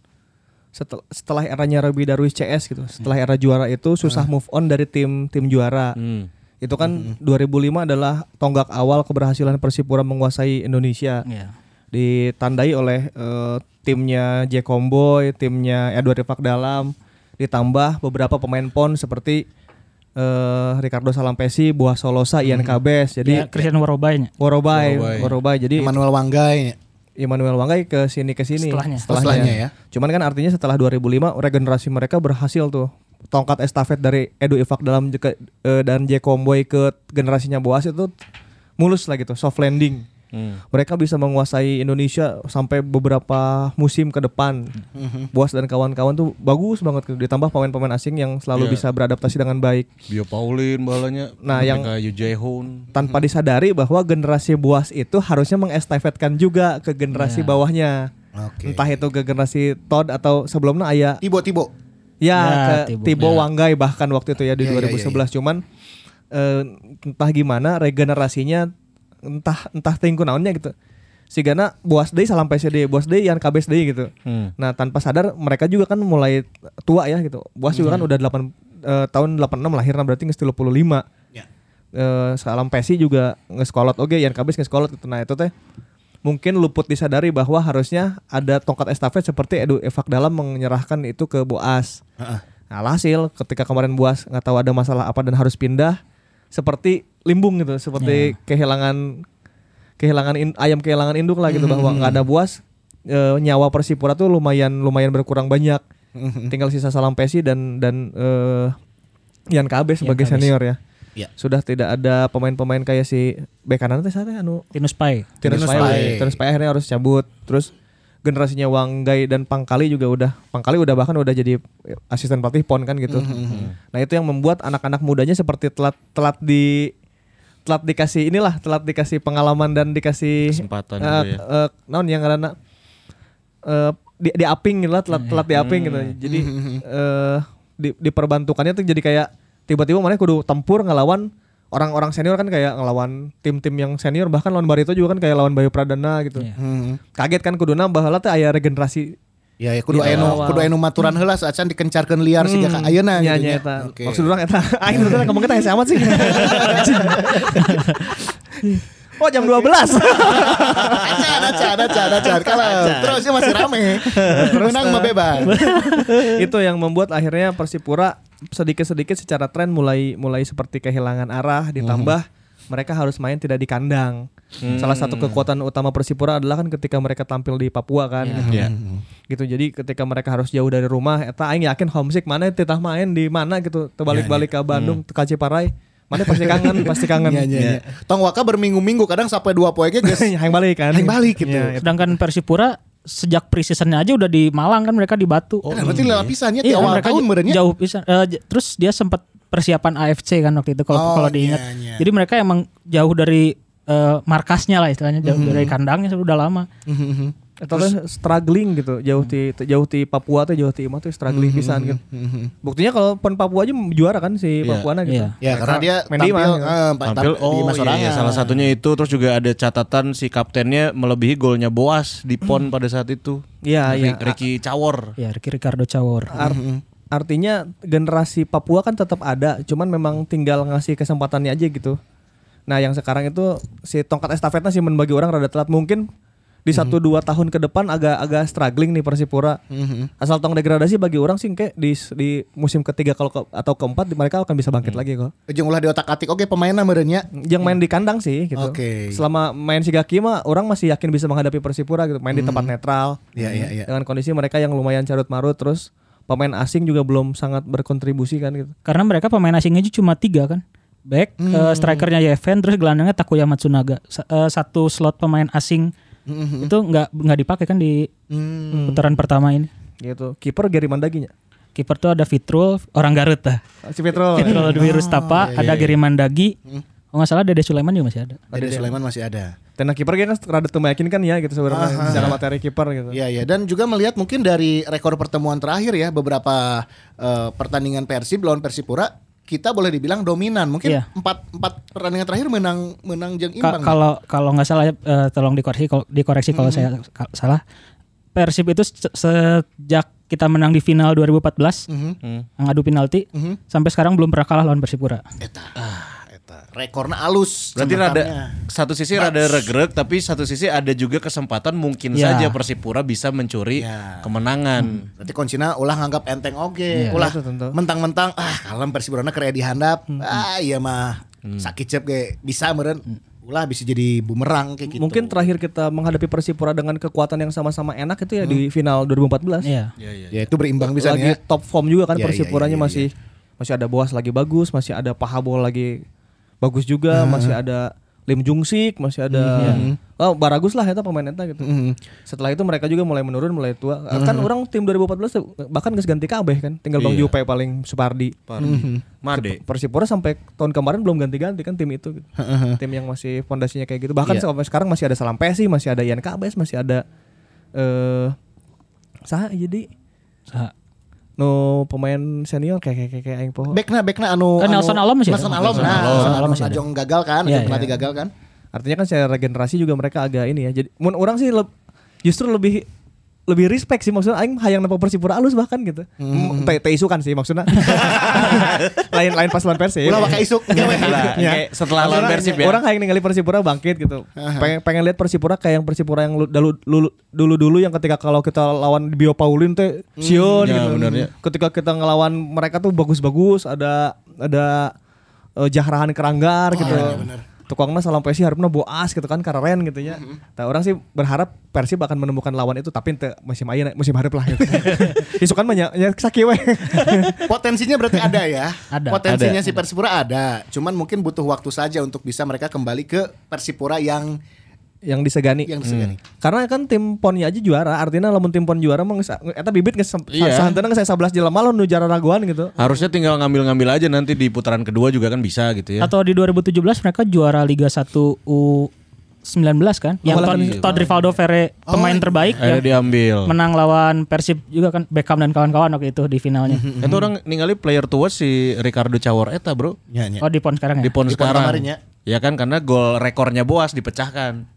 setel- setelah, eranya Robi Darwis CS gitu. Setelah era juara itu susah move on dari tim tim Ah. juara. Hmm. Itu kan 2005 adalah tonggak awal keberhasilan Persipura menguasai Indonesia. Iya. Ditandai oleh eh, timnya J Komboy, timnya Edward Rifak Dalam, ditambah beberapa pemain PON seperti eh, Ricardo Salampesi, Buah Solosa, Ian Hmm. Kabes. Jadi Iya, Ya, Christian Worobai-nya. Worobai, Worobai. Worobai. Jadi Manuel Wanggai. Immanuel Wanggai ke sini ke sini. Setelahnya. Setelahnya ya. Cuman kan artinya setelah 2005 regenerasi mereka berhasil tuh. Tongkat estafet dari Edu Ifak dalam ke- eh, dan J Komboy ke generasinya Boas itu mulus lah gitu, soft landing. Mereka bisa menguasai Indonesia sampai beberapa musim ke depan. Hmm. Boas dan kawan-kawan tuh bagus banget gitu. ditambah pemain-pemain asing yang selalu bisa beradaptasi dengan baik. Bio Paulin balanya. Nah, yang- Kayu Jehun. tanpa disadari bahwa generasi buas itu harusnya mengestafetkan juga ke generasi bawahnya. Oke. Entah itu ke generasi Todd atau sebelumnya ayah Tibo-tibo. ya, Ya, ke Tibo. Tibo Wanggai bahkan waktu itu ya di Ya, ya, 2011 cuman eh, entah gimana regenerasinya entah entah tingku naonnya gitu. Sigana buas deui salam PSD, buas deui yang kabes deui gitu. Hmm. Nah, tanpa sadar mereka juga kan mulai tua ya gitu. Buas juga kan udah 8 eh, tahun 86 lahirnya berarti geus 35. Ya. eh salam Pesi juga ngeskolot oke Yan Kabis ngeskolot gitu nah itu teh mungkin luput disadari bahwa harusnya ada tongkat estafet seperti Edu Evak dalam menyerahkan itu ke Boas. Nah, alhasil ketika kemarin Boas nggak tahu ada masalah apa dan harus pindah seperti limbung gitu, seperti kehilangan kehilangan in- ayam kehilangan induk lah gitu bahwa nggak ada Boas eh, nyawa Persipura tuh lumayan lumayan berkurang banyak. Tinggal sisa Salam Pesi dan dan eh, Yan Kabe sebagai senior ya. Iya. Sudah tidak ada pemain-pemain kayak si bek kanan teh sana anu Tinus Pai. Terus Terus Pai. Pai, Terus Pai akhirnya harus cabut. Terus generasinya Wanggai dan Pangkali juga udah Pangkali udah bahkan udah jadi asisten pelatih PON kan gitu. Mm-hmm, Nah, itu yang membuat anak-anak mudanya seperti telat telat di telat dikasih inilah, telat dikasih pengalaman dan dikasih Kesempatan eh, gitu ya. eh, naon yang karena eh di, di aping gitu lah, telat telat di aping gitu. Jadi eh di, di perbantukannya tuh jadi kayak tiba-tiba mana kudu tempur ngelawan orang-orang senior kan kayak ngelawan tim-tim yang senior bahkan lawan Barito juga kan kayak lawan Bayu Pradana gitu. Iya. Kaget kan kudu nambah lah teh aya regenerasi. Mm. Ya, ya kudu anu kudu anu maturan Mm. heula sacan dikencarkeun liar siga ka Iya, ayeuna Nya gitu nya nya. eta. Oke. Maksud urang eta. [LAUGHS] Aing bener kamu kita amat sih. [LAUGHS] Oh jam 12. [LAUGHS] Acan, acan, acan, acan. Kalau terusnya masih [LAUGHS] rame. Menang mah bebas. itu yang membuat akhirnya Persipura sedikit-sedikit secara tren mulai mulai seperti kehilangan arah ditambah mereka harus main tidak di kandang. Salah satu kekuatan utama Persipura adalah kan ketika mereka tampil di Papua kan. Iya. Gitu. Jadi ketika mereka harus jauh dari rumah eta aing yakin homesick mana titah main di mana gitu terbalik-balik ke Bandung ke Kaciparai. Mana pasti kangen, pasti kangen. Iya, iya, iya. Tong Waka berminggu-minggu kadang sampai dua poe ge [LAUGHS] geus Hayang balik kan. Hayang balik gitu. Nah, Iya, Sedangkan Persipura sejak pre-seasonnya aja udah di Malang kan mereka di Batu. Kan berarti Hmm. lapisannya di Iya, awal mereka tahun j- merenya. jauh pisan. Eh, j- terus dia sempat persiapan AFC kan waktu itu kalau Oh, kalau diingat. iya, iya. Jadi mereka emang jauh dari eh, markasnya lah istilahnya jauh Hmm. dari kandangnya sudah lama. Atau teh struggling gitu jauh di jauh di Papua tuh jauh di imah tuh struggling pisan gitu. Buktinya kalau pon Papua aja juara kan si Papuana gitu. Iya. Ya karena dia Mendy tampil, mah. eh, pa- Tampil tam- di oh iya, Masorangan. iya, salah satunya itu terus juga ada catatan si kaptennya melebihi golnya Boas di PON pada saat itu. Iya, iya. Hmm. Ri- Ricky Cawor. Ya Ricky Ricardo Cawor. Ar- artinya generasi Papua kan tetap ada, cuman memang tinggal ngasih kesempatannya aja gitu. Nah, yang sekarang itu si tongkat estafetnya sih men- bagi orang rada telat mungkin di satu dua tahun ke depan agak agak struggling nih Persipura. Asal tong degradasi bagi orang sih kayak di di musim ketiga kalau ke- atau keempat mereka akan bisa bangkit lagi kok. iya. Jeung ulah di otak-atik oke pemainna merenya. Yang main di kandang sih gitu. Iya. Oke. Selama main si Gaki mah orang masih yakin bisa menghadapi Persipura gitu, main di tempat netral. Iya, iya, iya. Dengan kondisi mereka yang lumayan carut marut terus pemain asing juga belum sangat berkontribusi kan gitu. Karena mereka pemain asingnya aja cuma tiga kan. Back, Hmm. eh, strikernya Yeven, terus gelandangnya Takuya Matsunaga. Sa- eh, satu slot pemain asing Hmm. itu nggak nggak dipakai kan di putaran pertama ini. Gitu. Kiper Gary Mandaginya. Kiper tuh ada Fitrul, orang Garut lah. Si Petro. Fitrul Dwi Rustapa, ada Giri Mandagi. Kalau nggak salah Dede Sulaiman juga masih ada. Ada Sulaiman masih ada. Tenang kiper dia kan rada tuh meyakinkan ya gitu sebenarnya secara materi kiper gitu. Iya ya dan juga melihat mungkin dari rekor pertemuan terakhir ya beberapa eh, pertandingan Persib lawan Persipura kita boleh dibilang dominan. Mungkin Iya. empat empat pertandingan terakhir menang menang jeung imbang. Ka- Kalau kalau nggak salah eh, tolong dikoreksi kalau- dikoreksi kalau saya ka- salah. Persib itu se- sejak kita menang di final 2014 Hmm. yang adu penalti sampai sekarang belum pernah kalah lawan Persipura. eta. Ah, eta. Rekorna alus. Berarti rada cemetannya. satu sisi rada regreg tapi satu sisi ada juga kesempatan mungkin Ya. saja Persipura bisa mencuri Ya. kemenangan. Berarti Koncina ulah nganggap enteng oge, ulah itu tentu. mentang-mentang ah kalem Persiborana keren dihandap. Ah iya mah sakit cep ge bisa meureun. Ulah bisa jadi bumerang kayak gitu. Mungkin terakhir kita menghadapi Persipura dengan kekuatan yang sama-sama enak itu ya di Hmm. final 2014. Iya. ya itu berimbang bisa lagi ya. top form juga kan Iya, iya, iya, Persipuranya iya, masih masih ada Boas lagi bagus, masih ada Pahabol lagi bagus juga, Hmm. masih ada Lim Jungsik, masih ada iya. oh, Baragus lah itu pemain eta gitu. Hmm. Setelah itu mereka juga mulai menurun, mulai tua. Kan orang tim 2014 tuh bahkan nggak ganti kabeh kan, tinggal Bang Iya. Jupe paling Supardi. Hmm. Made. Persipura sampai tahun kemarin belum ganti-ganti kan tim itu gitu. tim yang masih fondasinya kayak gitu. Bahkan Iya. sampai sekarang masih ada Salam Pesi, masih ada Ian Kabes, masih ada eh Saha jadi Sa- no pemain senior kayak kayak kayak- kayak aing poho. Bekna bekna anu anu- Kan Nelson Alom masih ada. Nelson Alom. Nelson Nah, Alom. Nelson Alom Alom masih ada. ajong gagal kan, Iya, ajong iya. pelatih gagal kan. Artinya kan secara regenerasi juga mereka agak ini ya. Jadi mun orang sih leb- justru lebih lebih respect sih maksudnya aing hayang nampak Persipura alus bahkan gitu. Hmm. Teh isu kan sih maksudnya. lain lain pas lawan Persib. Ulah pakai isuk. Ya, weh. Lah, [LAUGHS] kayak setelah lawan Orang- Persib ya. Orang kayak ningali Persipura bangkit gitu. Pengen pengen lihat Persipura kayak yang Persipura yang lu- dulu dulu dulu, dulu yang ketika kalau kita lawan Bio Paulin teh Sion ya, gitu. benernya. Ketika kita ngelawan mereka tuh bagus-bagus, ada ada eh, Jahrahan Keranggar gitu. Tukangnya salam Persi harapnya boas gitu kan keren gitu ya. Tah, orang sih berharap Persib akan menemukan lawan itu tapi teu musim ayeuna musim harap lah gitu. Isu kan banyak ya sakit weh. [LAUGHS] Potensinya berarti ada ya. Ada. Potensinya si Persipura ada. Cuman mungkin butuh waktu saja untuk bisa mereka kembali ke Persipura yang yang disegani. yang disegani. Karena kan tim ponnya aja juara, artinya lamun tim pon juara mah geus- eta bibit geus Iya. iya. sahantena geus 11 jelema lawan nu jara raguan gitu. Harusnya tinggal ngambil-ngambil aja nanti di putaran kedua juga kan bisa gitu ya. Atau di 2017 mereka juara Liga 1 U19 kan? Yang Todd, Todd Rivaldo Ferre pemain terbaik Akhirnya yang ya. diambil. menang lawan Persib juga kan Beckham dan kawan-kawan waktu itu di finalnya. Itu Hmm. orang ningali player tua si Ricardo Cawor eta, Bro. Ya, ya. Oh di pon sekarang Di ya. pon Di pon sekarang. kemarin ya. Ya kan karena gol rekornya Boas dipecahkan.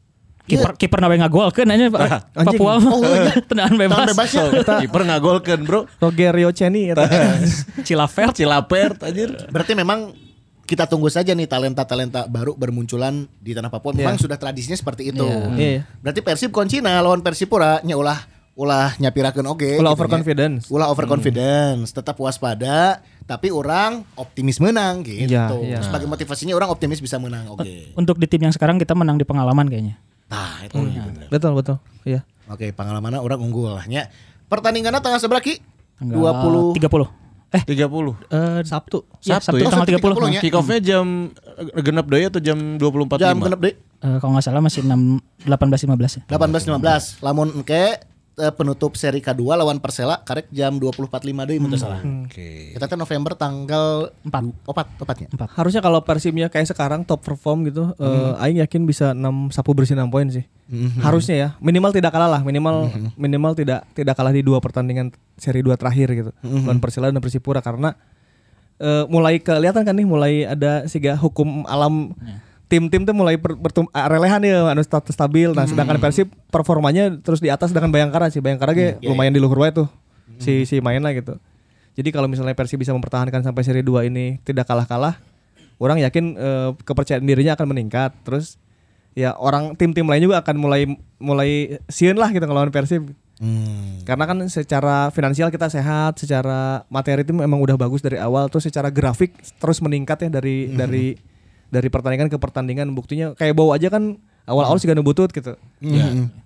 Kiper kiper nawe ngagolkeun anjing Pak Anjing. Papua mah. [LAUGHS] Tendangan Tahun bebas. bebasnya. So, kiper ngagolkeun, Bro. Rogerio [LAUGHS] Ceni eta. Cilafert. Cilapert anjir. Berarti memang kita tunggu saja nih talenta-talenta baru bermunculan di tanah Papua. Memang sudah tradisinya seperti itu. Hmm. Iya. Berarti Persib koncina lawan Persipura nya ulah ulah nyapirakeun oge. Ulah gitu nya. overconfidence. Hmm. Ulah overconfidence, tetap waspada tapi orang optimis menang gitu. Iya, iya. Sebagai motivasinya orang optimis bisa menang oke. Untuk di tim yang sekarang kita menang di pengalaman kayaknya. Nah, Hmm. itu bener. betul betul. Iya. Oke, pengalamannya orang unggul lah nya. Pertandingannya tanggal seberapa Ki? Tanggal 20 30. Eh 30. eh, Sabtu. ya, Sabtu Sabtu ya? tanggal Oh, 30. Sabtu 30 ya? Kick off-nya jam eh, genep deh atau jam 24.45? jam genep deui. Eh, kalau nggak salah masih 6 18 15 ya. 18.15. Lamun engke eh, penutup seri kedua lawan Persela karek jam 20.45 deui mun teu salah. Hmm. Oke. Kita teh November tanggal Empat. du- opat, opatnya. Harusnya kalau Persibnya kayak sekarang top perform gitu, eh, Hmm. aing yakin bisa 6 sapu bersih 6 poin sih. Harusnya ya. Minimal tidak kalah lah, minimal Hmm. minimal tidak tidak kalah di dua pertandingan seri dua terakhir gitu. Hmm. Lawan Persela dan Persipura karena eh, mulai kelihatan kan nih mulai ada siga hukum alam tim-tim tuh mulai per, bertum- ah, relehan ya anu status stabil. Nah, sedangkan Persib performanya terus di atas dengan Bayangkara sih. Bayangkara ge lumayan di luhur wae tuh. Si si main lah gitu. Jadi kalau misalnya Persib bisa mempertahankan sampai seri 2 ini tidak kalah-kalah, orang yakin eh, kepercayaan dirinya akan meningkat. Terus ya orang tim-tim lain juga akan mulai mulai sieun lah gitu ngelawan Persib. Hmm. Karena kan secara finansial kita sehat, secara materi tim emang udah bagus dari awal, terus secara grafik terus meningkat ya Hmm. dari dari dari pertandingan ke pertandingan. Buktinya kayak bawa aja kan Hmm. awal-awal sih gak butut gitu.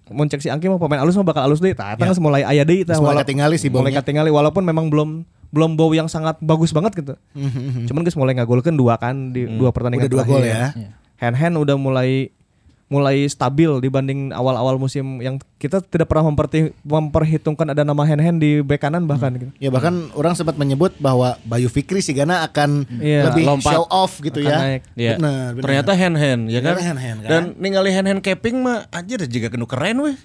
Mau cek si Angki mau pemain alus mah bakal alus deh. Ya. Tah tah geus mulai aya deui tah. Geus mulai wala- katingali si Mulai bomnya. katingali walaupun memang belum belum bau yang sangat bagus banget gitu. Hmm, Cuman guys mulai ngagolkeun dua kan di dua pertandingan Udah dua gol ya. Hand hand udah mulai mulai stabil dibanding awal-awal musim yang kita tidak pernah memperti- memperhitungkan ada nama hand hand di bek kanan Hmm. bahkan gitu. Ya bahkan orang sempat menyebut bahwa Bayu Fikri sih Gana akan Iya. lebih Lompat. show off gitu Akan ya. naik. Iya. Benar, benar. Ternyata hand hand ya kan. Ternyata hand-hand, kan? Dan ningali hand hand capping mah anjir juga kena keren weh.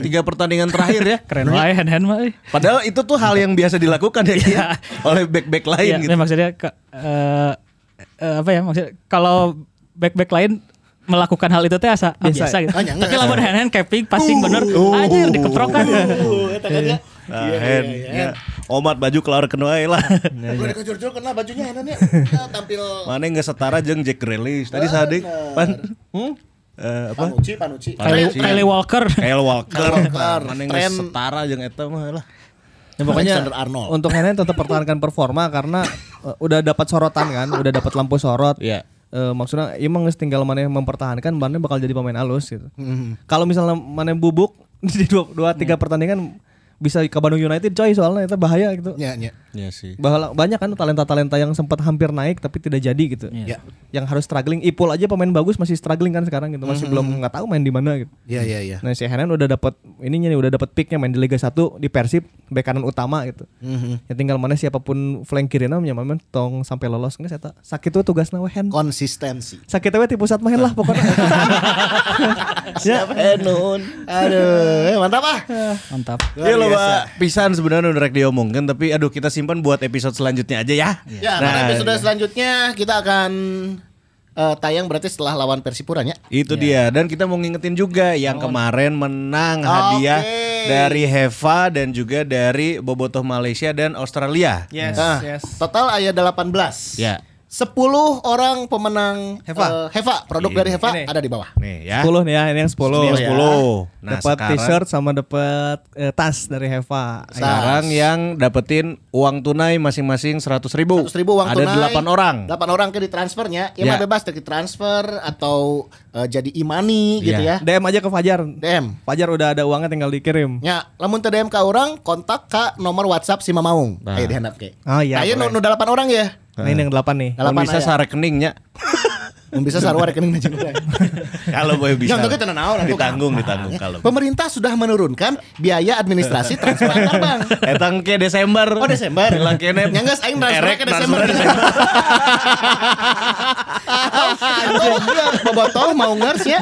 Tiga pertandingan terakhir ya. Keren wae hand-hand mah. eh. euy. [LAUGHS] Padahal itu tuh hal yang biasa dilakukan ya Ki, ya, oleh back-back lain Iya, gitu. nah, maksudnya ke- eh, eh, apa ya maksudnya kalau back-back lain melakukan hal itu teh asa ah, biasa, Biasa. gitu. Ah, nyangka. Tapi lamun hand hand capping passing bener anjir [LAUGHS] dikeprokan. Uh, eta kan ya. Iya, iya, iya. Nah, ya. Omat baju keluar kena wae lah. Gue kejur-jur kena bajunya Hanan ya. [LAUGHS] Nah, tampil Mana nggak setara jeung Jack Grealish. Tadi Sadik pan hmm? Eh, apa? Panucci, Panucci. Kylie, Iya. Kylie Walker. [LAUGHS] Kyle Walker. Kyle Walker. Mana nggak Tren. setara jeung eta mah lah. Ya, pokoknya Alexander Arnold. untuk hand hand tetap pertahankan performa karena eh, udah dapat sorotan kan, udah dapat lampu sorot. Iya. Eh, maksudnya emang geus tinggal mana yang mempertahankan mana bakal jadi pemain alus gitu. Hmm. Kalau misalnya mana yang bubuk [LAUGHS] di dua, dua tiga Iya. pertandingan bisa ke Bandung United coy soalnya itu bahaya gitu. Ya, ya. Iya sih. Bahwa banyak kan talenta-talenta yang sempat hampir naik tapi tidak jadi gitu. Iya. Ya. Yang harus struggling. Ipul aja pemain bagus masih struggling kan sekarang gitu. Masih belum nggak tahu main di mana gitu. Ya, ya, ya. Nah, si Henan udah dapat ininya nih udah dapat picknya main di Liga 1 di Persib bek kanan utama gitu. Ya tinggal mana siapapun flank kirinya nyaman tong sampai lolos nggak saya tak sakit tuh tugasnya we Hen. Konsistensi. Sakit we tipu saat main lah pokoknya. [LAUGHS] Ya. Siapa Enun? Aduh, eh, mantap ah. Mantap. Luar Iya loh biasa. Pak, pisan sebenarnya udah rek diomongkan tapi aduh kita simpan buat episode selanjutnya aja ya. Ya, karena episode selanjutnya kita akan eh, tayang berarti setelah lawan Persipura ya. Itu dia dan kita mau ngingetin juga yang kemarin menang hadiah dari Heva dan juga dari Bobotoh Malaysia dan Australia. Yes, Nah, yes. Total ada 18. Ya. 10 orang pemenang Heva. eh, Heva, produk Iya. dari Heva Ini. ada di bawah. Nih ya. 10 nih ya, ini yang 10. Ini yang 10. Nah, dapat sekarang- t-shirt sama dapat eh, tas dari Heva. Sekarang yang dapetin uang tunai masing-masing 100 ribu. 100 ribu uang Ada tunai. 8 orang. 8 orang ke ditransfernya. Ya, Ya. mah bebas dari transfer atau eh, jadi imani gitu ya. Ya. DM aja ke Fajar. DM. Fajar udah ada uangnya tinggal dikirim. Ya, lamun teu DM ka orang kontak ka nomor WhatsApp si Mamaung. Nah. Ayo dihandap ke. Oh, iya, Ayo nu nu boleh. 8 orang ya. Nah, ini yang 8 nih. Delapan ya. Kalau bisa aja. sarekeningnya. Mun bisa sarua rekening jeung urang. Kalau boleh bisa. Yang teu kita nanaon atuh. ditanggung, ditanggung kalau. Ya, Pemerintah sudah menurunkan biaya administrasi transfer antar bank. Etang ke Desember. Oh Desember. Bilang kene. Yang geus aing transfer erek ke Desember. transfer Desember. Atau dia bobotoh mau ngers ya.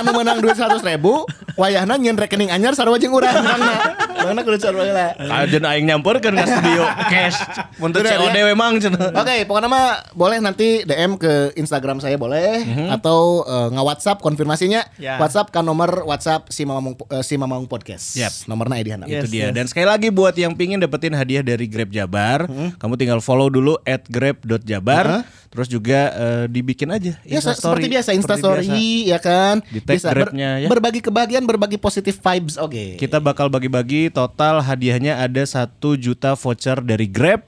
Anu menang duit 100 ribu. Wayahna nyen rekening anyar sarua jeung urang. Urangna. Urangna kudu sarua heula. Kajen aing nyamperkeun ke [LAUGHS] studio cash. Mun teu Udah, ya. COD memang cenah. [LAUGHS] Oke, pokoknya mah boleh nanti DM ke Instagram saya boleh Mhm. atau eh, nge-WhatsApp konfirmasinya. Ya. WhatsApp kan nomor WhatsApp si Mamang eh, si Mamang Podcast. Yap. Iya, Nomornya Ya, di handap. Yes. itu dia. Dan sekali lagi buat yang pingin dapetin hadiah dari Grab Jabar, kamu tinggal follow dulu at grab.jabar. Terus juga eh, dibikin aja Ya, se- Instastory. seperti biasa Seperti biasa. Instastory ya kan. Di tag Grab-nya, ya. berbagi kebahagiaan, berbagi positif vibes. Oke. Kita bakal bagi-bagi total hadiahnya ada satu juta voucher dari Grab,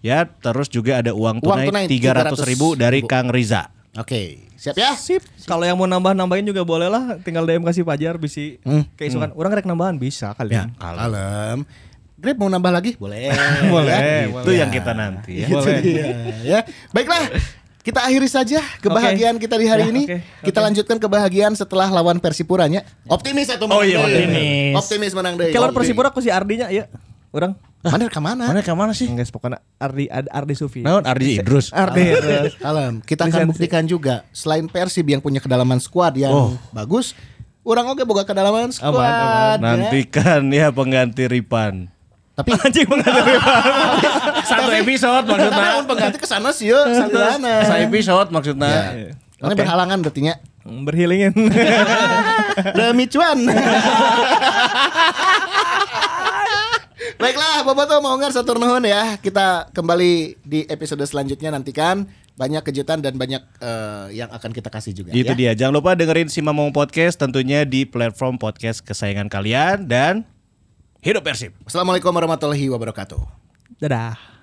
ya. Terus juga ada Uang uang tunai tunai tiga ratus ribu dari Kang Riza. Oke, siap ya? Sip. Kalau yang mau nambah-nambahin juga boleh lah, tinggal DM kasih Fajar bisi Hmm. keisukan. Orang rek nambahan bisa Ya, kalian. kalem. Grab mau nambah lagi? [LAUGHS] Boleh. Boleh, Ya. Itu yang kita nanti. Ya. Itu dia, ya. Baiklah, kita akhiri saja kebahagiaan kita di hari Ya, ini. oke, Kita lanjutkan kebahagiaan setelah lawan Persipuranya. Optimis atau Oh iya, optimis. Optimis menang deh. Kalau Optimis. Persipura aku si Ardinya ya. Orang Mana ke mana? Mana ke mana sih? enggak pokoknya Ardi Ad- Ardi Sufi. Naon Ardi Idrus. Ardi. terus. Kalem. Kita akan buktikan juga selain Persib yang punya kedalaman squad yang Oh. bagus, orang oke boga kedalaman squad. Aman, aman. ya. Nantikan ya pengganti Ripan. Tapi [LAUGHS] Anjing menghadapi [LAUGHS] Satu episode tapi lawan [LAUGHS] pengganti ke sana sih ya, santuana. Satu episode maksudnya. Karena berhalangan berarti nya. [LAUGHS] berhilingin. Demi cuan. Baiklah, Boboto mau ngar satu nuhun ya. Kita kembali di episode selanjutnya nantikan banyak kejutan dan banyak eh, yang akan kita kasih juga. Gitu ya. dia. Jangan lupa dengerin si Mamong Podcast tentunya di platform podcast kesayangan kalian dan hidup Persib. Assalamualaikum warahmatullahi wabarakatuh. Dadah.